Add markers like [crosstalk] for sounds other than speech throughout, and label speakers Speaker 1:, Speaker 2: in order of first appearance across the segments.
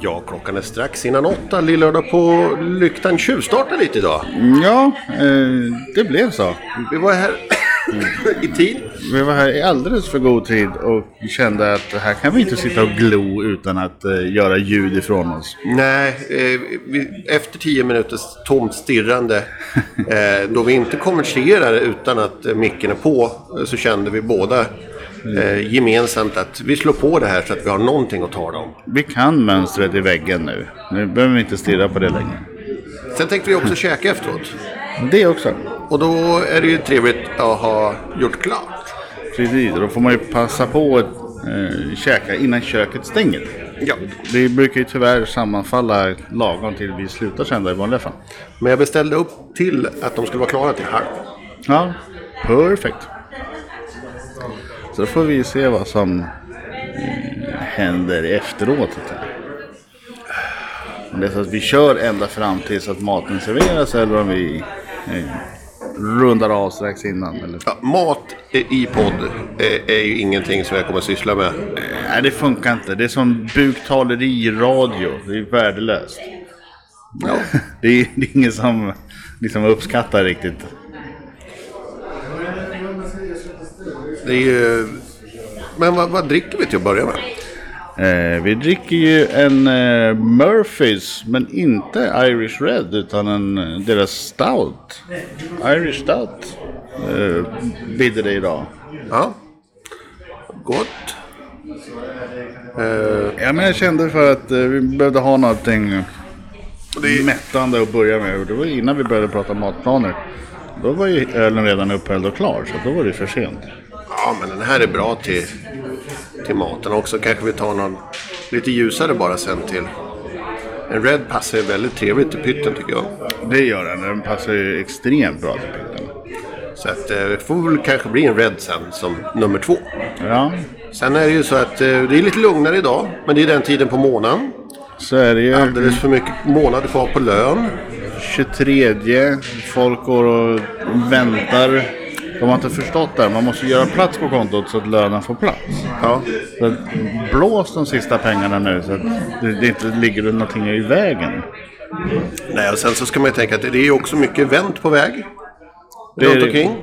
Speaker 1: Ja, klockan är strax innan åtta. Lillördag på Lyktan tjuvstartar lite idag.
Speaker 2: Ja, eh, det blev så.
Speaker 1: Vi var här [coughs] i tid.
Speaker 2: Vi var här i alldeles för god tid och kände att här kan vi inte sitta och glo utan att eh, göra ljud ifrån oss.
Speaker 1: Nej, eh, vi, efter tio minuters tomt stirrande, eh, då vi inte konverserar utan att eh, micken är på, eh, så kände vi båda eh, gemensamt att vi slår på det här så att vi har någonting att tala om.
Speaker 2: Vi kan mönstret i väggen nu. Nu behöver vi inte stirra på det längre.
Speaker 1: Sen tänkte vi också käka efteråt.
Speaker 2: Det också.
Speaker 1: Och då är det ju trevligt att ha gjort klart.
Speaker 2: Precis, då får man ju passa på att eh, käka innan köket stänger.
Speaker 1: Ja.
Speaker 2: Det brukar ju tyvärr sammanfalla lagom till vi slutar sända i vanliga fall.
Speaker 1: Men jag beställde upp till att de skulle vara klara till halv.
Speaker 2: Ja, perfekt. Så då får vi se vad som eh, händer efteråt. så att säga. Om det är så att vi kör ända fram tills att maten serveras eller om vi eh, rundar av strax innan. Eller...
Speaker 1: Ja, mat i podd är, är ju ingenting som jag kommer att syssla med.
Speaker 2: Nej, det funkar inte. Det är som buktaleri i radio. Det är värdelöst.
Speaker 1: Ja.
Speaker 2: [laughs] Det är, det är ingen som liksom uppskattar riktigt.
Speaker 1: Det är ju... Men vad, vad dricker vi till att börja med?
Speaker 2: Eh, vi dricker ju en eh, Murphys, men inte Irish Red, utan en, eh, deras Stout. Irish Stout eh, bidde det idag.
Speaker 1: Ja. Gott. Eh,
Speaker 2: Ja, men jag kände för att eh, vi behövde ha någonting mättande att börja med. Och det var ju innan vi började prata matplaner. Då var ju ölen redan upphälld och klar, så då var det för sent.
Speaker 1: ja, men den här är bra till, till maten också. Kanske vi tar någon lite ljusare bara sen till. En Red passar ju väldigt trevligt till pytten tycker jag.
Speaker 2: Det gör den. Den passar ju extremt bra till pillen.
Speaker 1: Så att eh, det får väl kanske bli en Red sen som nummer två.
Speaker 2: Ja,
Speaker 1: Sen är det ju så att eh, det är lite lugnare idag. Men det är den tiden på månaden.
Speaker 2: så är det ju.
Speaker 1: Alldeles för mycket månader kvar på lön.
Speaker 2: 23. Folk går och väntar. De har inte förstått det. här. Man måste göra plats på kontot så att lönen får plats.
Speaker 1: Ja.
Speaker 2: Så att blås de sista pengarna nu så att det, det inte ligger någonting i vägen.
Speaker 1: Nej, och sen så ska man ju tänka att det är också mycket event på väg.
Speaker 2: Det är
Speaker 1: runt
Speaker 2: det.
Speaker 1: omkring.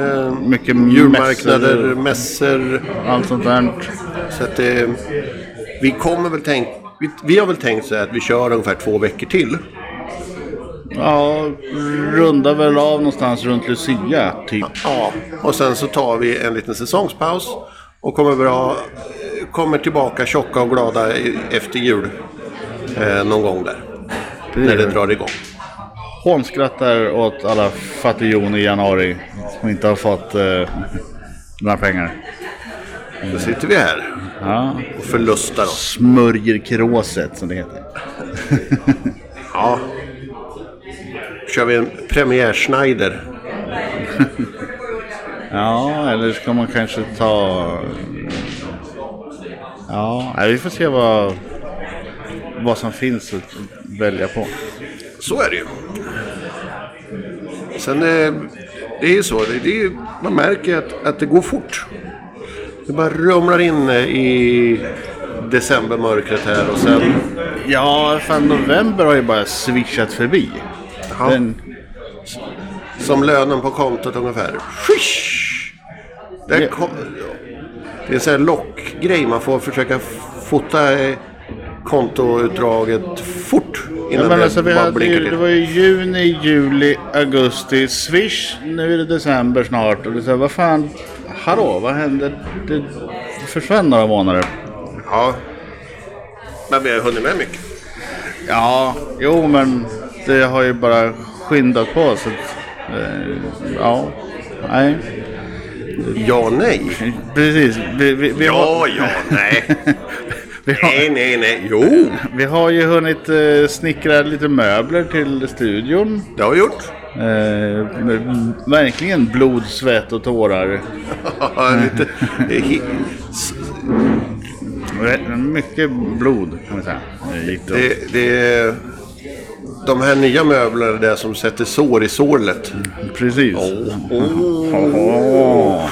Speaker 1: Eh,
Speaker 2: Mycket
Speaker 1: djurmarknader,
Speaker 2: mässor,
Speaker 1: mässor.
Speaker 2: Allt sånt där.
Speaker 1: Så att eh, vi kommer väl tänka... Vi, vi har väl tänkt så här att vi kör ungefär två veckor till.
Speaker 2: Ja, rundar väl av någonstans runt Lucia typ.
Speaker 1: Ja. Och sen så tar vi en liten säsongspaus. Och kommer, bra, kommer tillbaka tjocka och glada i- efter jul. Eh, någon gång där. När det drar igång.
Speaker 2: Hånskrattar åt alla fattighjoner i januari som inte har fått eh, några pengar.
Speaker 1: Då sitter vi här
Speaker 2: Ja.
Speaker 1: och förlustar oss.
Speaker 2: Smörjer kråset som det heter.
Speaker 1: Ja. Kör vi en premiär-Schneider.
Speaker 2: Ja, eller ska man kanske ta... Ja, nej, vi får se vad, vad som finns att välja på.
Speaker 1: Så är det ju. Sen, eh, det är ju så. Det, det är, ju- man märker ju att, att det går fort. Det bara rumlar in eh, i decembermörkret här och sen...
Speaker 2: Ja, fan november har ju bara swishat förbi.
Speaker 1: Ja.
Speaker 2: Den,
Speaker 1: Som lönen på kontot ungefär. Swish! Där kom, det är en sån här lockgrej. Man får försöka fota eh, kontoutdraget fort. Innan
Speaker 2: ja, men alltså,
Speaker 1: det
Speaker 2: vi
Speaker 1: bara
Speaker 2: hade
Speaker 1: blinkar
Speaker 2: ju, det
Speaker 1: till.
Speaker 2: var ju juni, juli, augusti, swish. Nu är det december snart och det är så här, vad fan, hallå, vad hände? Det försvann några månader.
Speaker 1: Ja. Men vi har hunnit med mycket.
Speaker 2: Ja, jo men det har ju bara skyndat på så att, eh, ja, nej.
Speaker 1: Ja, nej.
Speaker 2: Precis, vi, vi, vi,
Speaker 1: Ja,
Speaker 2: har,
Speaker 1: ja, nej.
Speaker 2: vi, har,
Speaker 1: Nej, nej, nej. Jo,
Speaker 2: [laughs] vi har ju hunnit eh, snickra lite möbler till studion.
Speaker 1: det har vi gjort. [laughs]
Speaker 2: Eh, med verkligen blod, svett och tårar.
Speaker 1: Lite, hi- s-
Speaker 2: Mycket blod kan man säga. Eh, gick det åt.
Speaker 1: det, det, de här nya möblerna är det som sätter sår i sålet.
Speaker 2: Precis. Åh.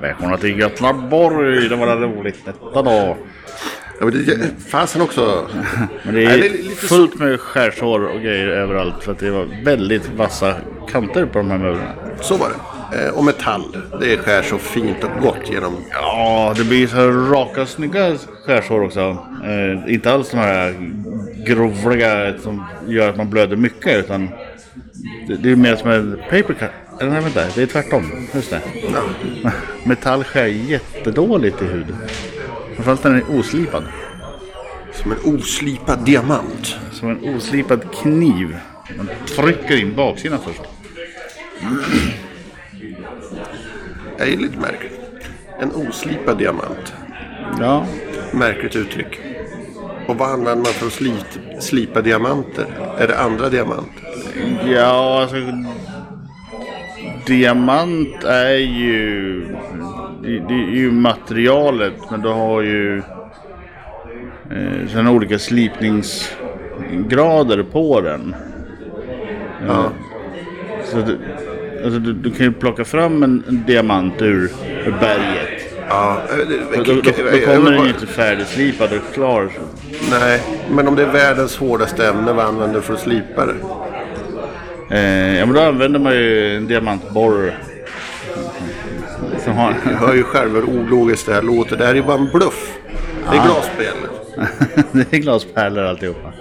Speaker 2: Välkomna till Göteborg, det var roligt detta då.
Speaker 1: Ja, men det, fasen också.
Speaker 2: Men det
Speaker 1: Nej,
Speaker 2: är
Speaker 1: det är lite
Speaker 2: fullt med skärshår och grejer överallt. För att det var väldigt vassa kanter på de här möblerna.
Speaker 1: Så var det. Eh, Och metall. Det skär så fint och gott genom...
Speaker 2: Ja, det blir så här raka snygga skärshår också. Eh, inte alls de här grovliga som gör att man blöder mycket. Utan det, det är mer som en paper cut. Eller nej, vänta. Det är tvärtom. Just det. [laughs] Metall skär jättedåligt i huden. Framförallt när den är oslipad.
Speaker 1: Som en oslipad diamant.
Speaker 2: Som en oslipad kniv. Man trycker in baksidan först.
Speaker 1: Det är lite märkligt. En oslipad diamant.
Speaker 2: Ja.
Speaker 1: Märkligt uttryck. Och vad använder man för att slit, slipa diamanter? Är det andra diamanter?
Speaker 2: Ja, alltså. Diamant är ju... Det, det är ju materialet, men du har ju... Eh, sen olika slipningsgrader på den. Eh,
Speaker 1: Ja.
Speaker 2: Så att du, alltså du, du kan ju plocka fram en, en diamant ur ur berget.
Speaker 1: ja. eh, det-
Speaker 2: Då, då, då
Speaker 1: jag vill
Speaker 2: kommer den
Speaker 1: bara-
Speaker 2: ju inte färdigslipad och klar.
Speaker 1: Nej, men om det är världens hårdaste ämne, vad använder du för att slipa det?
Speaker 2: Eh, ja, men då använder man ju en diamantborr. Som har,
Speaker 1: Jag hör ju själv hur ologiskt det här låter. Det här är ju bara en bluff. Det är glasspel.
Speaker 2: [laughs] det är glaspärlor alltihopa.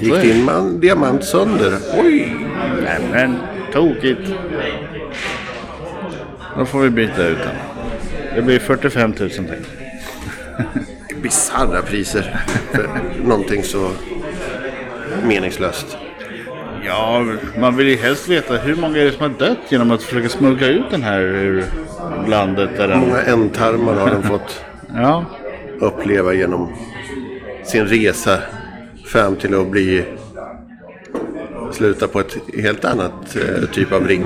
Speaker 1: Gick din man diamant sönder? Oj!
Speaker 2: Nej men, tokigt. Då får vi byta ut den. Det blir 45 000 till.
Speaker 1: Bisarra priser för någonting så meningslöst.
Speaker 2: Ja, man vill ju helst veta hur många är det som har dött genom att försöka smuggla ut den här ur landet. Där den...
Speaker 1: Många ändtarmar har den fått
Speaker 2: Ja,
Speaker 1: uppleva genom sin resa fram till att bli sluta på ett helt annat eh, typ av ring.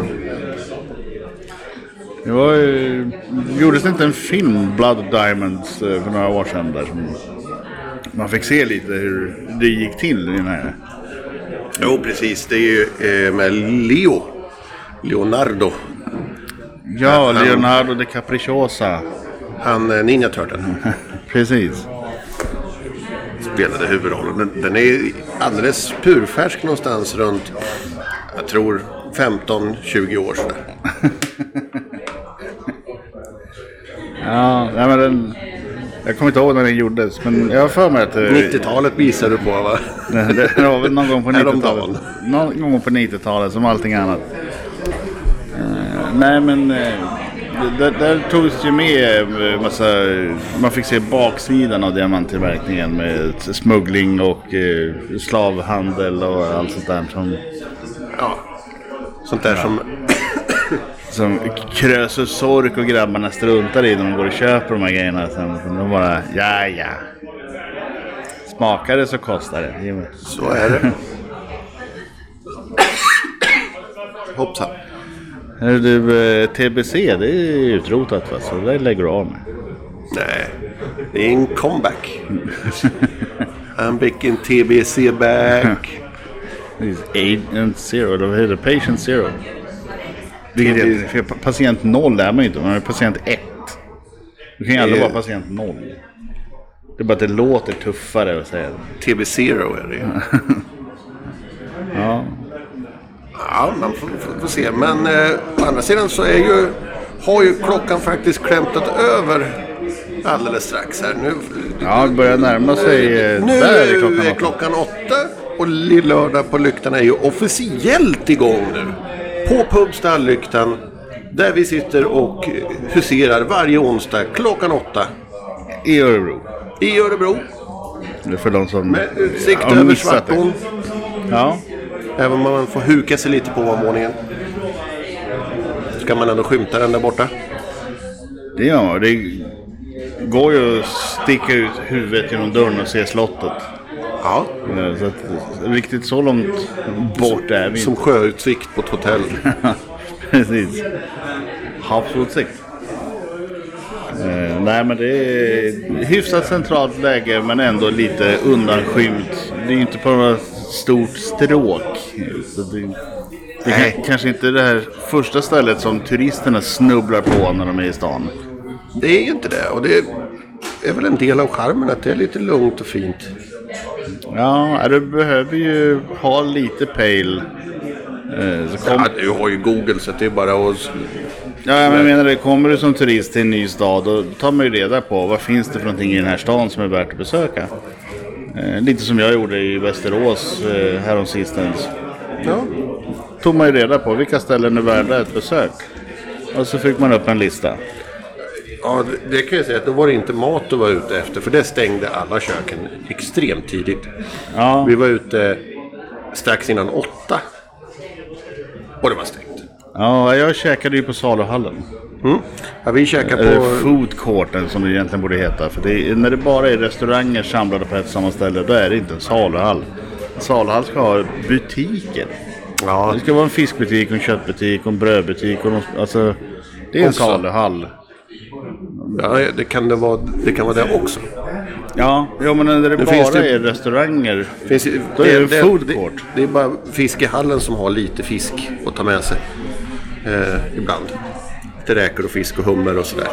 Speaker 2: det var ju... Gjordes det inte en film, Blood Diamonds, eh, för några år sedan där som... Man fick se lite hur det gick till i den här
Speaker 1: Jo, precis. Det är ju eh, med Leo. Leonardo.
Speaker 2: Ja, Leonardo de Capricciosa.
Speaker 1: Han, eh, Ninja Turtle,
Speaker 2: Precis.
Speaker 1: spelade huvudrollen. Den, den är alldeles purfärsk någonstans runt, jag tror, 15-20 år sedan.
Speaker 2: Ja, nej, men den, jag kommer inte ihåg när den gjordes, men jag har för mig att det,
Speaker 1: 90-talet visar du på, va?
Speaker 2: det var väl någon gång på
Speaker 1: Häromdagen.
Speaker 2: 90-talet. Någon gång på 90-talet, som allting annat. Eh, nej, men eh, det- där, där togs ju med eh, massa... Man fick se baksidan av diamanttillverkningen med smuggling och eh, slavhandel och allt sånt där som,
Speaker 1: Ja. Sånt där som...
Speaker 2: som Krösus och Sork och grabbarna struntar i när de går och köper de här grejerna. Sen de bara, ja ja. Smakar det så kostar det. det. är väl-
Speaker 1: Så är det. Hoppsan.
Speaker 2: Hörru Du, eh, TBC det är utrotat va? Så det där lägger du av med.
Speaker 1: Nej, det är en comeback. I'm back in TBC back.
Speaker 2: Det är Agent zero, eller vad heter det? Patient zero. Vilket är, för pa- patient noll är man ju inte, man är patient ett. Du kan ju aldrig
Speaker 1: Det är-
Speaker 2: vara patient noll. Det är bara att det låter tuffare att säga det.
Speaker 1: TBC är det ju.
Speaker 2: Ja,
Speaker 1: Ja, man får, får, får se. Men eh, å andra sidan så är ju, har ju klockan faktiskt klämtat över alldeles strax här. Nu,
Speaker 2: ja det börjar närma sig. eh,
Speaker 1: nu
Speaker 2: där är klockan
Speaker 1: är
Speaker 2: åtta.
Speaker 1: klockan åtta och Lillördag på Lyktan är ju officiellt igång nu. På Pub Stall-lyktan där vi sitter och huserar varje onsdag klockan åtta
Speaker 2: I Örebro.
Speaker 1: i Örebro.
Speaker 2: Det är för de som
Speaker 1: Med utsikt
Speaker 2: har
Speaker 1: eh, över
Speaker 2: missat det.
Speaker 1: Svartån.
Speaker 2: Ja,
Speaker 1: Även om man får huka sig lite på ovanvåningen. Ska man ändå skymta den där borta.
Speaker 2: det gör man. Det går ju att sticka ut huvudet genom dörren och se slottet.
Speaker 1: Ja,
Speaker 2: Eh, Så att, riktigt så långt bort är vi
Speaker 1: Som
Speaker 2: inte.
Speaker 1: sjöutsikt på ett hotell.
Speaker 2: [laughs] Precis. Havsutsikt. Eh, nej men det är hyfsat centralt läge men ändå lite undanskymt. Det är ju inte på något stort stråk. Så det, det är
Speaker 1: Nej.
Speaker 2: kanske inte det här första stället som turisterna snubblar på när de är i stan.
Speaker 1: Det är ju inte det. Och det är väl en del av charmen att det är lite lugnt och fint.
Speaker 2: Ja, du behöver ju ha lite pale. Eh, Så kom,
Speaker 1: Ja, du har ju Google så det är bara att...
Speaker 2: ja, men jag menar det, kommer du som turist till en ny stad då tar man ju reda på vad finns det för någonting i den här stan som är värt att besöka. Eh, Lite som jag gjorde i Västerås eh, häromsistens.
Speaker 1: Ja,
Speaker 2: Tog man ju reda på vilka ställen är värda ett besök. Och så fick man upp en lista.
Speaker 1: ja det- det kan jag säga att då var det inte mat att vara ute efter för det stängde alla köken extremt tidigt.
Speaker 2: Ja,
Speaker 1: Vi var ute strax innan åtta och det var stängt.
Speaker 2: ja jag käkade ju på saluhallen.
Speaker 1: Mm. Ja, vi käkade
Speaker 2: Eller
Speaker 1: på...
Speaker 2: food courten som det egentligen borde heta. För det är, när det bara är restauranger samlade på ett samma ställe, då är det inte en saluhall. En saluhall ska ha butiker.
Speaker 1: Ja,
Speaker 2: Det ska vara en fiskbutik, och en köttbutik, och en brödbutik. Och någon, alltså, det är en
Speaker 1: Också.
Speaker 2: saluhall.
Speaker 1: ja det, kan det, vara, det kan vara det också.
Speaker 2: Ja, jo, men när det, bara
Speaker 1: finns det-
Speaker 2: är restauranger.
Speaker 1: Finns,
Speaker 2: Då är det en food court.
Speaker 1: Det, det är bara fiskehallen som har lite fisk att ta med sig. Eh, ibland. Lite räkor och fisk och hummer och sådär.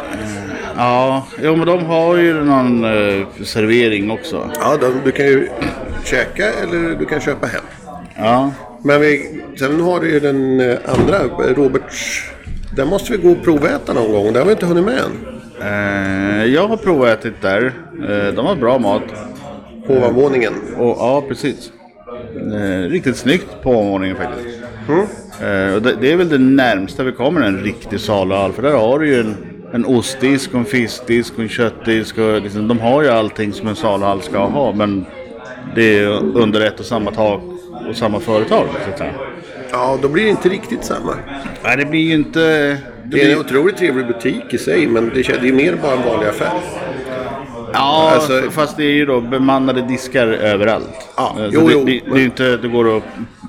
Speaker 2: Ja, jo, men de har ju någon eh, servering också.
Speaker 1: Ja, de, du kan ju käka eller du kan köpa hem.
Speaker 2: Ja,
Speaker 1: Men vi, sen har du ju den eh, andra, eh, Roberts. Där måste vi gå och proväta någon gång. Det har vi inte hunnit med än.
Speaker 2: eh, jag har provätit där. Eh, de har bra mat.
Speaker 1: På ovanvåningen.
Speaker 2: Och, ja, precis. Eh, riktigt snyggt på omvåningen faktiskt. Eh, och det, det är väl det närmsta vi kommer en riktig saluhall. För där har du ju en, en ostdisk, och en fiskdisk, och en köttdisk. Och liksom, de har ju allting som en saluhall ska ha. Men det är under ett och samma tak och samma företag. Så att säga.
Speaker 1: Ja, då blir det inte riktigt samma.
Speaker 2: Nej, det blir ju inte... Det
Speaker 1: Det är en
Speaker 2: blir,
Speaker 1: otroligt trevlig butik i sig, men det kän- det är mer bara en vanlig affär.
Speaker 2: ja,
Speaker 1: alltså-
Speaker 2: f- fast det är ju då bemannade diskar överallt.
Speaker 1: Ja,
Speaker 2: Eh, så
Speaker 1: jo,
Speaker 2: det,
Speaker 1: jo.
Speaker 2: Det, det är ju inte att du går och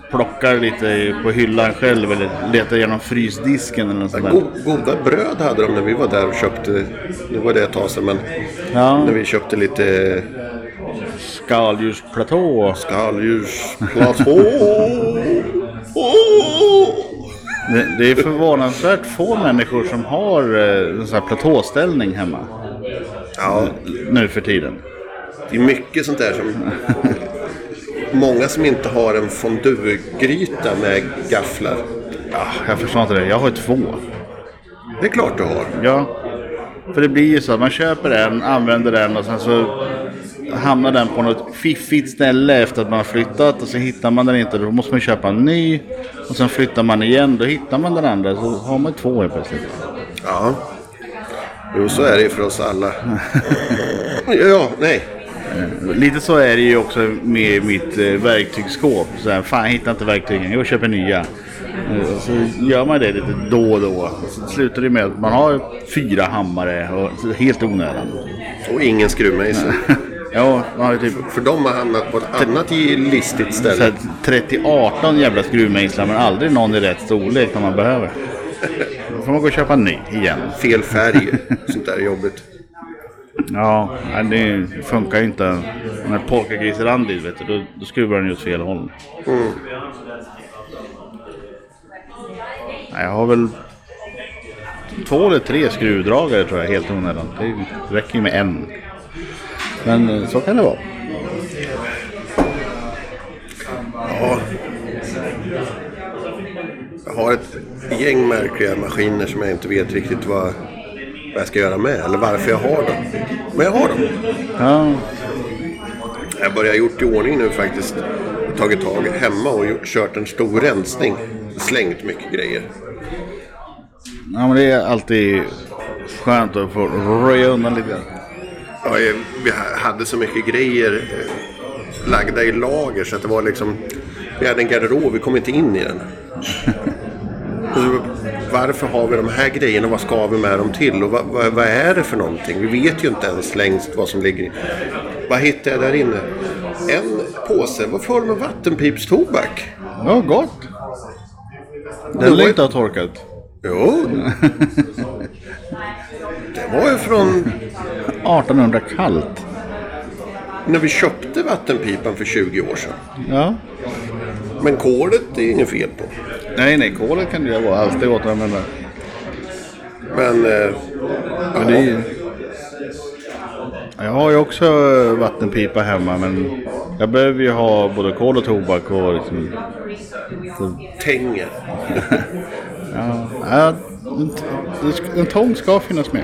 Speaker 2: plockar lite i- på hyllan själv eller letar igenom frysdisken eller något sånt där.
Speaker 1: Go- Goda bröd hade de när vi var där och köpte. Nu var det ett tag sedan men
Speaker 2: Ja,
Speaker 1: när vi köpte lite
Speaker 2: skaldjursplatå.
Speaker 1: skaldjursplatå.
Speaker 2: Det, det är förvånansvärt få människor som har eh, en sån här platåställning hemma
Speaker 1: Ja,
Speaker 2: nu för tiden.
Speaker 1: det är mycket sånt där som... Många som inte har en fonduegryta med gafflar.
Speaker 2: Ja, Ah, jag förstår inte det. Jag har ju två.
Speaker 1: Det är klart du har.
Speaker 2: Ja. För det blir ju så att man köper en, använder den och sen så hamnar den på något fiffigt ställe efter att man har flyttat och så hittar man den inte. Då måste man köpa en ny och sen flyttar man igen. Då hittar man den andra så har man två helt plötsligt.
Speaker 1: Ja. Jo, så är det ju för oss alla. Ja, nej.
Speaker 2: Lite så är det ju också med mitt eh, verktygsskåp. Så här, fan, jag hittar inte verktygen. Jag köper nya. Eh, och Så gör man det lite då och då. Och Så slutar det med att man har fyra hammare. Och, så helt onödan. [laughs]
Speaker 1: Och ingen skruvmejsel.
Speaker 2: Ja, man har ju typ
Speaker 1: För de har hamnat på ett annat listigt
Speaker 2: så
Speaker 1: ställe.
Speaker 2: här, 30-18 jävla skruvmejslar men aldrig någon i rätt storlek när man behöver. Då får man gå och köpa en ny igen.
Speaker 1: fel färg. Sånt där är jobbigt.
Speaker 2: Ja, nej, det funkar ju inte. När polkagris är randig, vet du, då, då skruvar den ju åt fel håll.
Speaker 1: Mm.
Speaker 2: Nej, Jag har väl två eller tre skruvdragare tror jag helt i onödan. Det räcker ju med en. Men eh, så kan det vara.
Speaker 1: Ja. Jag har ett gäng märkliga maskiner som jag inte vet riktigt vad, vad jag ska göra med. Eller varför jag har dem. Men jag har dem.
Speaker 2: Ja,
Speaker 1: Jag börjar gjort i ordning nu faktiskt. Jag har Tagit tag hemma och gjort, kört en stor rensning. Slängt mycket grejer.
Speaker 2: ja men det är alltid skönt att få röja undan lite. grann.
Speaker 1: Ja, eh, vi ha- hade så mycket grejer eh, lagda i lager så att det var liksom... Vi hade en garderob, vi kom inte in i den. [laughs] Och så, Varför har vi de här grejerna? Vad ska vi med dem till? Och vad, vad, vad är det för någonting? Vi vet ju inte ens längst vad som ligger i. Vad hittade jag där inne? En påse var full med vattenpipstobak.
Speaker 2: Ja, gott!
Speaker 1: Det
Speaker 2: Den
Speaker 1: var
Speaker 2: lär
Speaker 1: ju-
Speaker 2: inte ha torkat.
Speaker 1: Jo! Det var ju från
Speaker 2: 1800 kallt.
Speaker 1: när vi köpte vattenpipan för 20 år sedan.
Speaker 2: Ja.
Speaker 1: Men kolet är inget fel på.
Speaker 2: Nej, nej, kolet kan du ju vara alltid återanvända.
Speaker 1: Men... Eh,
Speaker 2: Men det är ju... Ja, Jag har ju också vattenpipa hemma men jag behöver ju ha både kol och tobak och liksom... Så,
Speaker 1: Tänger.
Speaker 2: ja, ja, en, t- en tång ska finnas med.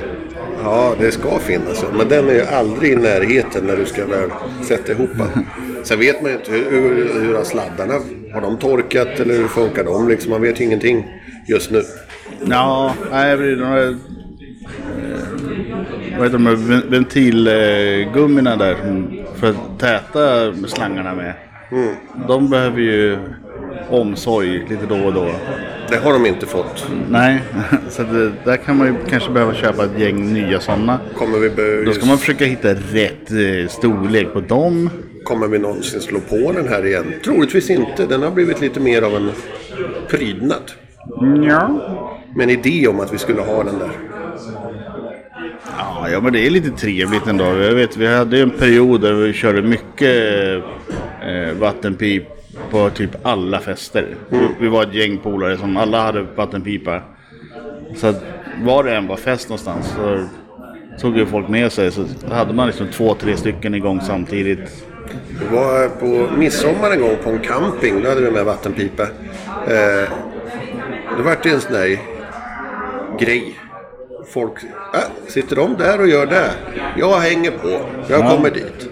Speaker 1: Ja, det ska finnas. Men den är ju aldrig i närheten när du ska väl sätta ihop den. Sen vet man ju inte hur, hur, hur har sladdarna har de torkat eller hur funkar de liksom. Man vet ju ingenting just nu.
Speaker 2: Ja, nej, det är de där, eh, vad heter de här ven- ventilgummina där som- för att täta slangarna med. Mm. De behöver ju omsorg lite då och då.
Speaker 1: Det har de inte fått.
Speaker 2: Nej, [laughs] så det, där kan man ju kanske behöva köpa ett gäng nya sådana.
Speaker 1: Kommer vi, be-
Speaker 2: Då ska man försöka hitta rätt eh, storlek på dem.
Speaker 1: kommer vi någonsin slå på den här igen? Troligtvis inte. Den har blivit lite mer av en prydnad.
Speaker 2: Ja.
Speaker 1: Men idé om att vi skulle ha den där.
Speaker 2: Ja, men det är lite trevligt ändå. Jag vet, vi hade ju en period där vi körde mycket eh, vattenpip på typ alla fester. Vi var ett gäng polare som alla hade vattenpipa. Så att var det än var fest någonstans så tog ju folk med sig. Så hade man liksom två, tre stycken igång samtidigt.
Speaker 1: Vi var på midsommar en gång på en camping. Då hade vi med vattenpipa. Eh, det vart ju en sån där grej. Folk, äh, sitter de där och gör det? Jag hänger på. Jag kommer dit.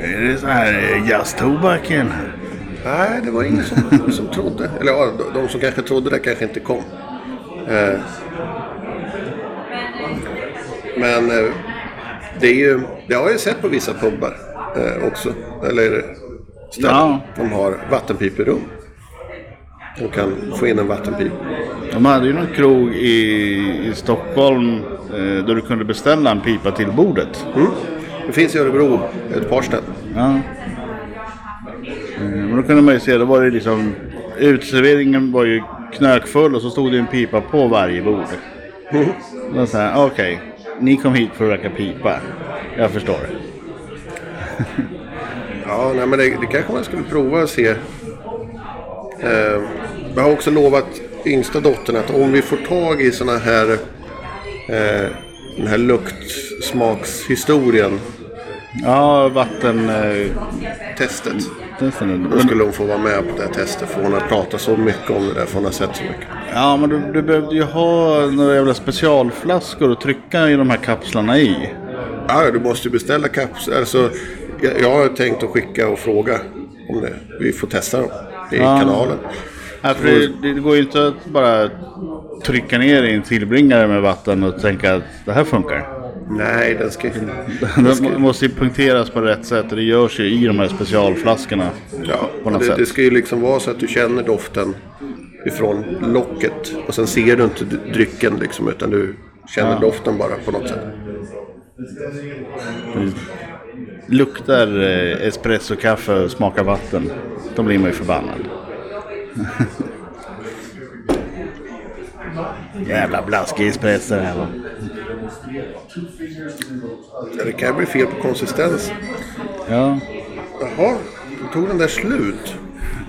Speaker 2: Är det så här eh, jazztobaken?
Speaker 1: Nej, det var ingen som, [laughs] som trodde. Eller ja, de- de som kanske trodde det kanske inte kom. Eh, men eh, det är ju, det har jag ju sett på vissa pubbar eh, också. Eller ställen.
Speaker 2: Ja.
Speaker 1: De har vattenpiperum. De kan få in en vattenpipa.
Speaker 2: De hade ju någon krog i, i Stockholm eh, där du kunde beställa en pipa till bordet.
Speaker 1: Mm. Det finns i Örebro ett par ställen.
Speaker 2: Ja. Eh, Men då kunde man ju se, då var det liksom Utserveringen var ju knökfull och så stod det en pipa på varje bord.
Speaker 1: Mm.
Speaker 2: Då sa jag, okej, ni kom hit för att röka pipa. Jag förstår.
Speaker 1: Ja, nej, men det, det kanske man skulle prova och se. Eh, jag har också lovat yngsta dottern att om vi får tag i såna här eh, den här luktsmakshistorien,
Speaker 2: Ja, vatten... Eh,
Speaker 1: testet,
Speaker 2: testen.
Speaker 1: då
Speaker 2: Men-
Speaker 1: skulle hon få vara med på det här testet. För hon har pratat så mycket om det där, för hon har sett så mycket.
Speaker 2: ja, men du, du behövde ju ha några jävla specialflaskor att trycka i de här kapslarna i.
Speaker 1: Ja, du måste ju beställa kapslar. Alltså, jag, jag har tänkt att skicka och fråga om det. Vi får testa dem i kanalen.
Speaker 2: Ja, för det, det går ju inte att bara trycka ner i en tillbringare med vatten och tänka att det här funkar.
Speaker 1: Nej, den ska
Speaker 2: [laughs] Den måste ju punkteras på rätt sätt och det görs ju i de här specialflaskorna.
Speaker 1: Ja,
Speaker 2: på något
Speaker 1: det,
Speaker 2: sätt.
Speaker 1: det ska ju liksom vara så att du känner doften ifrån locket och sen ser du inte d- drycken liksom utan du känner doften bara på något sätt.
Speaker 2: Luktar eh, espressokaffe och smakar vatten. Då blir man ju förbannad. [laughs] Jävla blaskig espresso det här var.
Speaker 1: Ja, Det kan ju bli fel på konsistens.
Speaker 2: Ja.
Speaker 1: Jaha, då tog den där slut.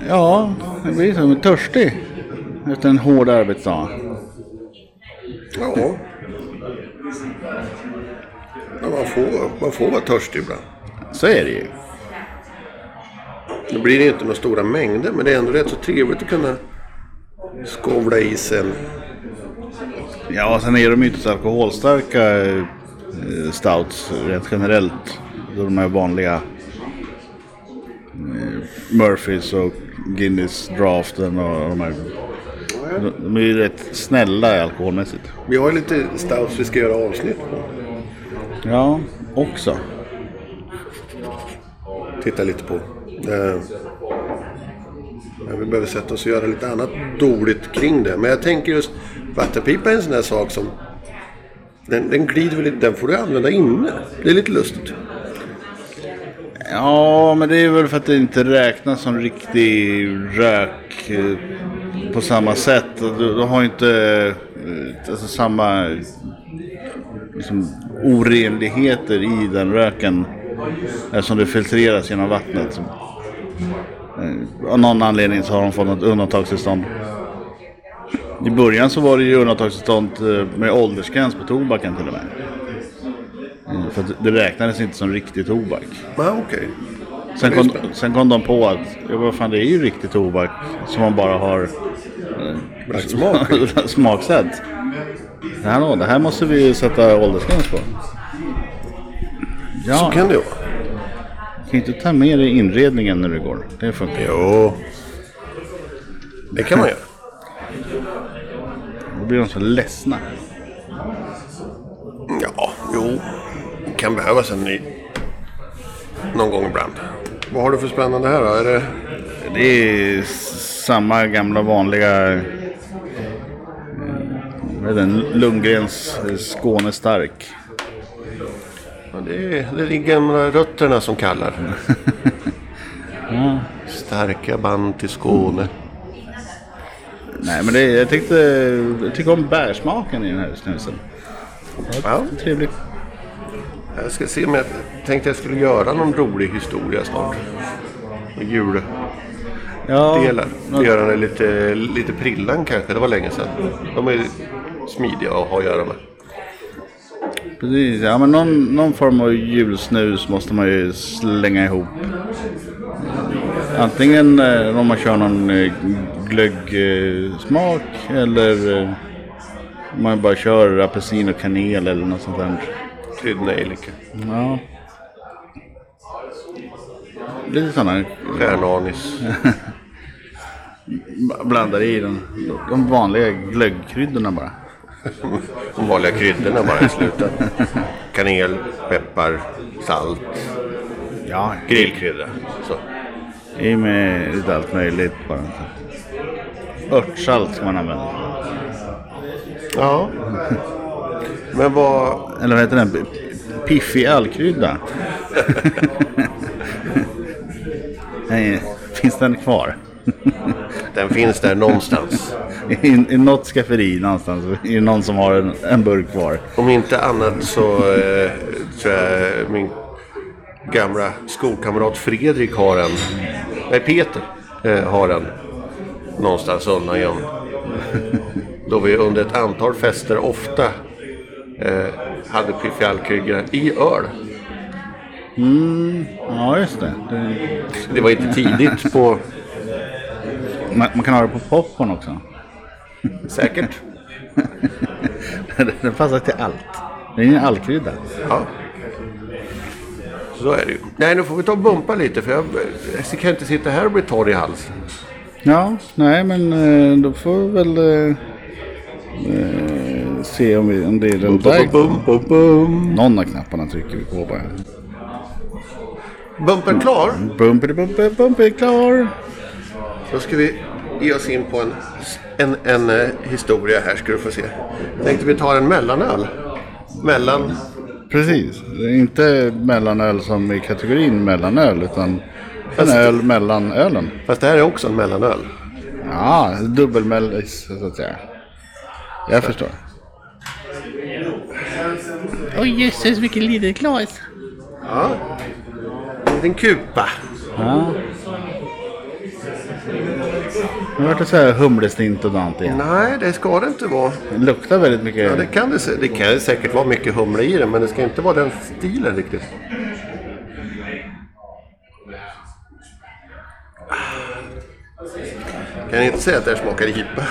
Speaker 2: ja, jag blir som törstig efter en hård arbetsdag.
Speaker 1: Ja. ja man, får, man får vara törstig ibland.
Speaker 2: Så är det ju.
Speaker 1: Nu blir det ju inte några stora mängder men det är ändå rätt så trevligt att kunna skovla i sig en
Speaker 2: Ja, sen är de ju inte så alkoholstarka eh, stouts rent generellt. De här vanliga eh, Murphys och Guinness draften och de här. De- De är ju rätt snälla alkoholmässigt.
Speaker 1: Vi har ju lite stouts vi ska göra avsnitt på.
Speaker 2: Ja, också.
Speaker 1: titta lite på. Eh, men vi behöver sätta oss och göra lite annat roligt kring det. Men jag tänker just vattenpipa är en sån där sak som den, den glider väl lite, den får du använda inne. Det är lite lustigt.
Speaker 2: Ja, men det är väl för att det inte räknas som riktig rök eh, på samma sätt. Du, du har ju inte eh, alltså, samma eh, liksom, orenligheter i den röken eftersom det filtreras genom vattnet. Så, eh, av någon anledning så har de fått något undantagstillstånd. I början så var det ju undantagstillstånd eh, med åldersgräns på tobaken till och med. För att det räknades inte som riktig tobak.
Speaker 1: Ah, okej.
Speaker 2: Sen
Speaker 1: Det är
Speaker 2: kom,
Speaker 1: spännande.
Speaker 2: sen kom de på att ja, vad fan, det är ju riktig tobak som man bara har eh,
Speaker 1: Lagt
Speaker 2: [laughs]
Speaker 1: smak
Speaker 2: smaksatt. Det här, nå, det här måste vi ju sätta åldersgräns på. Ja,
Speaker 1: Så
Speaker 2: kan...
Speaker 1: kan det vara.
Speaker 2: kan inte ta med dig inredningen när du går. Det funkar ju.
Speaker 1: Jo. Det kan man göra.
Speaker 2: Då blir de så ledsna.
Speaker 1: [laughs] Ja, jo. Kan behövas en ny. Någon gång ibland. Vad har du för spännande här då? Är det...
Speaker 2: Det är s- samma gamla vanliga... eh, Vad heter den? Lundgrens eh, Skåne stark.
Speaker 1: Ja, det, är, det är de gamla rötterna som kallar. Starka band till Skåne.
Speaker 2: Nej men det, är- jag, tyckte, jag tycker om bärsmaken i den här snusen.
Speaker 1: Ja,
Speaker 2: Trevligt.
Speaker 1: jag ska se om jag tänkte jag skulle göra någon rolig historia snart. Juldelar.
Speaker 2: Ja, något-
Speaker 1: Göra det lite, lite prillan kanske. Det var länge sedan. De är smidiga att ha att göra med.
Speaker 2: precis. Ja, men någon, någon form av julsnus måste man ju slänga ihop. Antingen eh, om man kör någon eh, glöggsmak eller eh, om man bara kör apelsin och kanel eller något sånt där.
Speaker 1: Kryddnejlika.
Speaker 2: Ja. Lite sådana.
Speaker 1: Stjärnanis.
Speaker 2: Blandar i den. de vanliga glöggkryddorna bara.
Speaker 1: De vanliga kryddorna bara i slutet. Kanel, peppar, salt,
Speaker 2: Ja,
Speaker 1: grillkrydda. Så.
Speaker 2: I med lite allt möjligt bara. Örtsalt ska man använda.
Speaker 1: Ja. Men vad...
Speaker 2: Eller vad heter den? P- Piffig allkrydda. [laughs] Nej, finns den kvar?
Speaker 1: Den finns där någonstans.
Speaker 2: I, I något skafferi någonstans är det någon som har en, en burk kvar.
Speaker 1: Om inte annat så eh, tror jag min gamla skolkamrat Fredrik har en. Nej, Peter eh, har en. Någonstans undan gömd. Då vi under ett antal fester ofta eh, hade Piffi Alkryggare i öl.
Speaker 2: Ja, just det. det
Speaker 1: Det var inte tidigt på...
Speaker 2: man, man kan ha det på popcorn också. [laughs]
Speaker 1: Säkert.
Speaker 2: Den passar till allt. Det är en allkrydda.
Speaker 1: Ja. Så är det ju. Nej, nu får vi ta och bumpa lite för jag, jag kan inte sitta här och bli torr i halsen.
Speaker 2: Ja, nej men eh, då får vi väl eh, eh, se om, vi, om det är den där.
Speaker 1: Bum, bum, bum.
Speaker 2: Någon av knapparna trycker vi på bara.
Speaker 1: Bumpen klar.
Speaker 2: Bumpity bumper bumper klar.
Speaker 1: Då ska vi ge oss in på en, en, en eh, historia här ska du få se. Tänkte vi tar en mellanöl. Mellan...
Speaker 2: Precis, det är inte mellanöl som i kategorin mellanöl utan en
Speaker 1: Fast-
Speaker 2: öl mellan ölen.
Speaker 1: Fast det här är också en mellanöl.
Speaker 2: Ja, dubbelmellis så att säga. Jag förstår.
Speaker 3: Oj jösses vilken liten glas.
Speaker 1: Ja. En liten kupa.
Speaker 2: Ja. Nu vart det så här humlestintonant igen.
Speaker 1: Nej, det ska det inte vara.
Speaker 2: Det luktar väldigt mycket.
Speaker 1: Ja, det, kan det, se- det kan säkert vara mycket humle i den, men det ska inte vara den stilen riktigt. Kan inte säga att det här smakar IPA.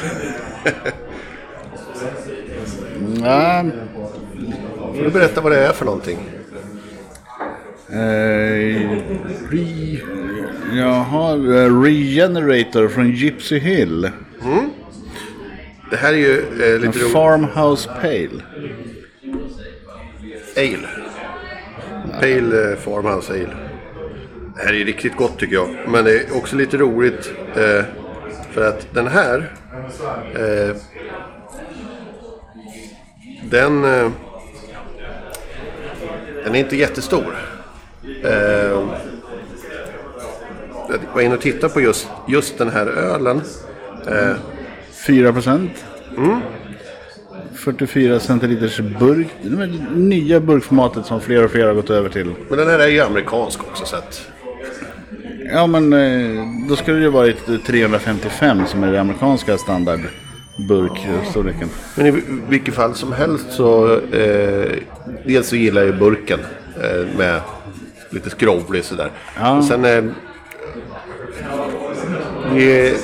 Speaker 2: Ja,
Speaker 1: Får du berätta vad det är för någonting?
Speaker 2: eh, re, jaha, eh, Regenerator från Gypsy Hill.
Speaker 1: Det här är ju eh,
Speaker 2: En
Speaker 1: lite roligt.
Speaker 2: farmhouse pale.
Speaker 1: Ale. Pale eh, Farmhouse Ale. Det här är riktigt gott tycker jag. Men det är också lite roligt eh, för att den här eh, den, eh, den är inte jättestor. Eh, jag var inne och tittade på just, just den här ölen.
Speaker 2: 4 procent.
Speaker 1: Mm.
Speaker 2: 44 centiliters burk. Det är det nya burkformatet som fler och fler har gått över till.
Speaker 1: Men den här är ju amerikansk också så att
Speaker 2: Ja men eh, då skulle det ju varit 355 som är det amerikanska standardburkstorleken.
Speaker 1: Men i vil- vilket fall som helst så eh, dels så gillar jag ju burken eh, med lite skrovlig sådär.
Speaker 2: Ja.
Speaker 1: Och sen... Eh, det,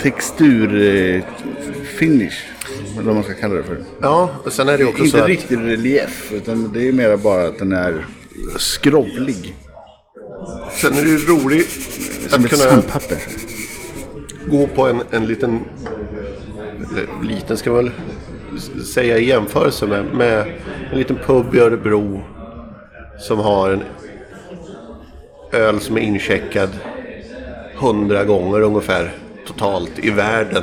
Speaker 2: Textur... Eh, finish. Eller vad man ska kalla det för.
Speaker 1: ja, och sen är det också så
Speaker 2: Inte
Speaker 1: att...
Speaker 2: riktigt relief, utan det är mera bara att den är skrovlig.
Speaker 1: Sen är det ju roligt
Speaker 2: Som
Speaker 1: att
Speaker 2: ett
Speaker 1: kunna
Speaker 2: sandpapper.
Speaker 1: gå på en, en liten... eller Liten ska man väl s- säga i jämförelse med, med en liten pub i Örebro som har en öl som är incheckad hundra gånger ungefär totalt i världen.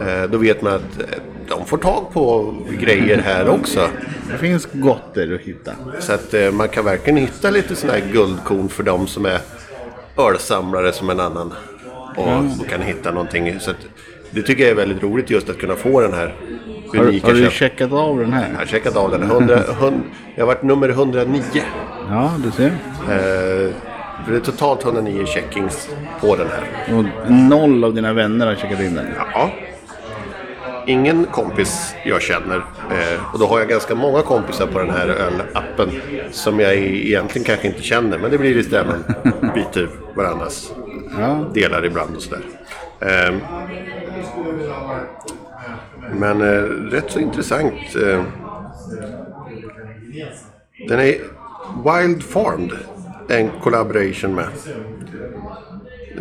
Speaker 1: Eh, Då vet man att eh, de får tag på grejer här också.
Speaker 2: Det finns gott där att hitta.
Speaker 1: Så att eh, man kan verkligen hitta lite sådana här guldkorn för de som är ölsamlare som en annan. Och
Speaker 2: Mm.
Speaker 1: som kan hitta någonting. Så att, det tycker jag är väldigt roligt just att kunna få den här
Speaker 2: Har, du-
Speaker 1: unika
Speaker 2: har du
Speaker 1: känslan.
Speaker 2: checkat av den
Speaker 1: Jag
Speaker 2: här?
Speaker 1: har checkat av den. 100, 100, jag har varit nummer 109.
Speaker 2: Ja, du ser.
Speaker 1: Eh, för det är totalt 109 checkings på den här.
Speaker 2: Och noll av dina vänner har checkat in den.
Speaker 1: Ja. Ingen kompis jag känner. Eh, och då har jag ganska många kompisar på den här ölappen. Som jag egentligen kanske inte känner. Men det blir lite där man byter varandras
Speaker 2: Ja.
Speaker 1: delar ibland och sådär. Eh, men eh, rätt så intressant. Eh, den är Wild Farmed. En collaboration med.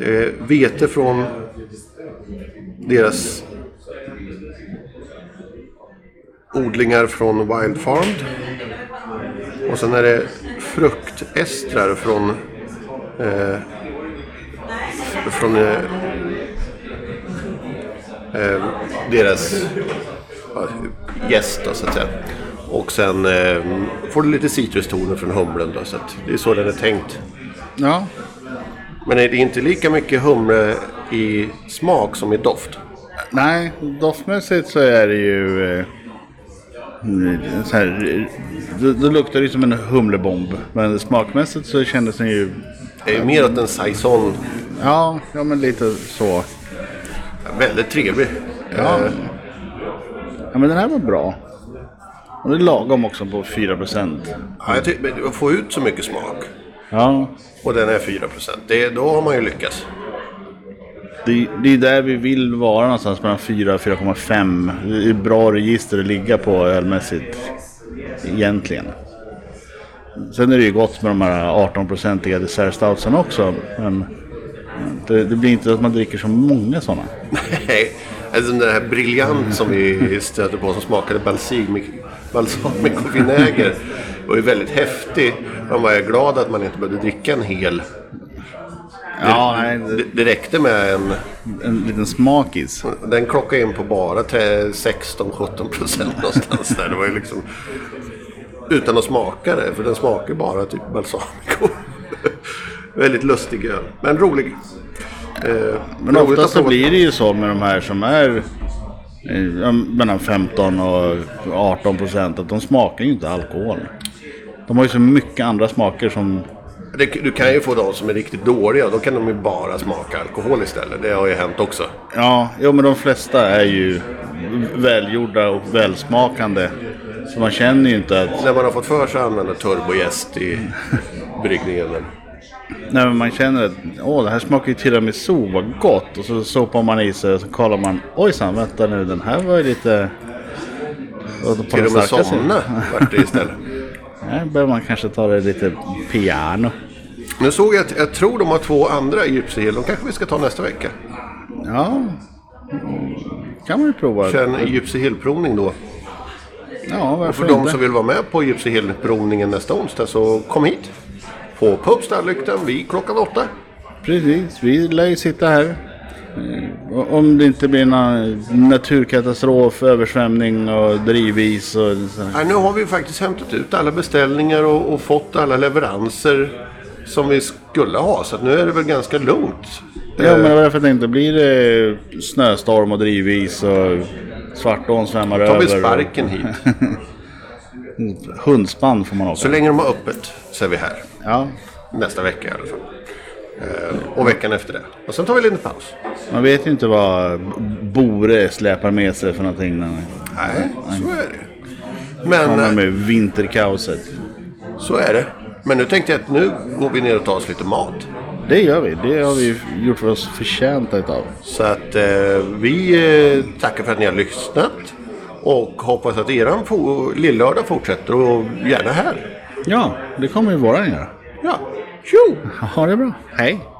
Speaker 1: Eh, vete från deras odlingar från Wild Farmed. Och sen är det fruktestrar från från eh, eh, deras ja, gäst då, så att säga. Och sen eh, får du lite citrustoner från humlen då, så att det är så den är tänkt.
Speaker 2: ja.
Speaker 1: Men det är inte lika mycket humle i smak som i doft.
Speaker 2: Nej, doftmässigt så är det ju... Eh, så här, då, då luktar det ju som en humlebomb. Men smakmässigt så kändes den ju...
Speaker 1: Det är mer åt en saison.
Speaker 2: Ja, ja men lite så.
Speaker 1: Väldigt trevlig. Eh,
Speaker 2: Ja. Eh, ja, men den här var bra. Och det är lagom också på 4%.
Speaker 1: Ja, jag tycker, men att få ut så mycket smak.
Speaker 2: Ja,
Speaker 1: Och den är 4%. Det, då har man ju lyckats.
Speaker 2: det, det är där vi vill vara någonstans mellan 4 och 4,5. Det är ett bra register att ligga på ölmässigt egentligen. Sen är det ju gott med de här 18-procentiga dessertstoutsen också. Men det, det blir inte att man dricker så många sådana.
Speaker 1: [laughs] Nej, alltså den här briljant som vi stöter på som smakade balsamic- balsamic och vinäger. var ju väldigt häftig. Man var ju glad att man inte behövde dricka en hel.
Speaker 2: Ja, nej, det-
Speaker 1: Det, det räckte med en...
Speaker 2: en liten smakis.
Speaker 1: Den klockade in på bara tre- 16-17 procent någonstans där. Det var ju liksom... Utan att smaka det, för den smakar bara typ balsamico. [laughs] väldigt lustig öl, men rolig. Eh,
Speaker 2: Men
Speaker 1: roligt
Speaker 2: oftast
Speaker 1: att
Speaker 2: så
Speaker 1: prova.
Speaker 2: blir det ju så med de här som är eh, ja, mellan 15 och 18 procent att de smakar ju inte alkohol. De har ju så mycket andra smaker som...
Speaker 1: Det, du kan ju få de som är riktigt dåliga. Då kan de ju bara smaka alkohol istället. Det har ju hänt också.
Speaker 2: Ja, jo men de flesta är ju välgjorda och välsmakande. Så man känner ju inte att...
Speaker 1: När man har fått för sig att använda turbojäst i bryggningen. men-
Speaker 2: Nej men man känner att åh det här smakar ju tiramisu, vad gott. Och så sopar man i sig och så kollar man. Ojsan, vänta nu den här var ju lite... på den
Speaker 1: Till och med
Speaker 2: starka sidan."
Speaker 1: somna vart det istället.
Speaker 2: Här behöver man kanske ta det lite piano.
Speaker 1: Nu såg jag att jag tror de har två andra i Gypsy Hill. De kanske vi ska ta nästa vecka.
Speaker 2: Ja, kan man ju prova.
Speaker 1: Kör en Gypsy Hill-provning då.
Speaker 2: Ja, varför
Speaker 1: För de
Speaker 2: inte?
Speaker 1: som vill vara med på Gypsy Hill-provningen nästa onsdag så kom hit. På Pub Stallyktan vid klockan åtta.
Speaker 2: Precis, vi lär ju sitta här. Eh, och Om det inte blir någon naturkatastrof, översvämning och drivis och så.
Speaker 1: Ja, nu har vi faktiskt hämtat ut alla beställningar och, och fått alla leveranser som vi skulle ha. Så att nu är det väl ganska lugnt.
Speaker 2: Ja,
Speaker 1: Eh.
Speaker 2: men det var därför jag tänkte, blir det snöstorm och drivis och Svartån svämmar
Speaker 1: Då
Speaker 2: över.
Speaker 1: tar vi
Speaker 2: och-
Speaker 1: sparken hit.
Speaker 2: Hundspann får man
Speaker 1: Så
Speaker 2: också.
Speaker 1: länge de har öppet så är vi här.
Speaker 2: Ja,
Speaker 1: Nästa vecka i alla fall. Eh, Och veckan efter det. Och sen tar vi en liten paus.
Speaker 2: man vet ju inte vad Bore släpar med sig för någonting.
Speaker 1: Nej, så är det. Men
Speaker 2: Kommer
Speaker 1: eh,
Speaker 2: med vinterkaoset.
Speaker 1: så är det. Men nu tänkte jag att nu går vi ner och tar oss lite mat.
Speaker 2: Det gör vi. Det har vi gjort för oss förtjänta utav.
Speaker 1: Så att eh, vi eh, tackar för att ni har lyssnat. Och hoppas att eran fo- lillördag fortsätter och gärna här.
Speaker 2: Ja, det kommer ju våran göra.
Speaker 1: Ja, tjo!
Speaker 2: Ha det bra. Hej.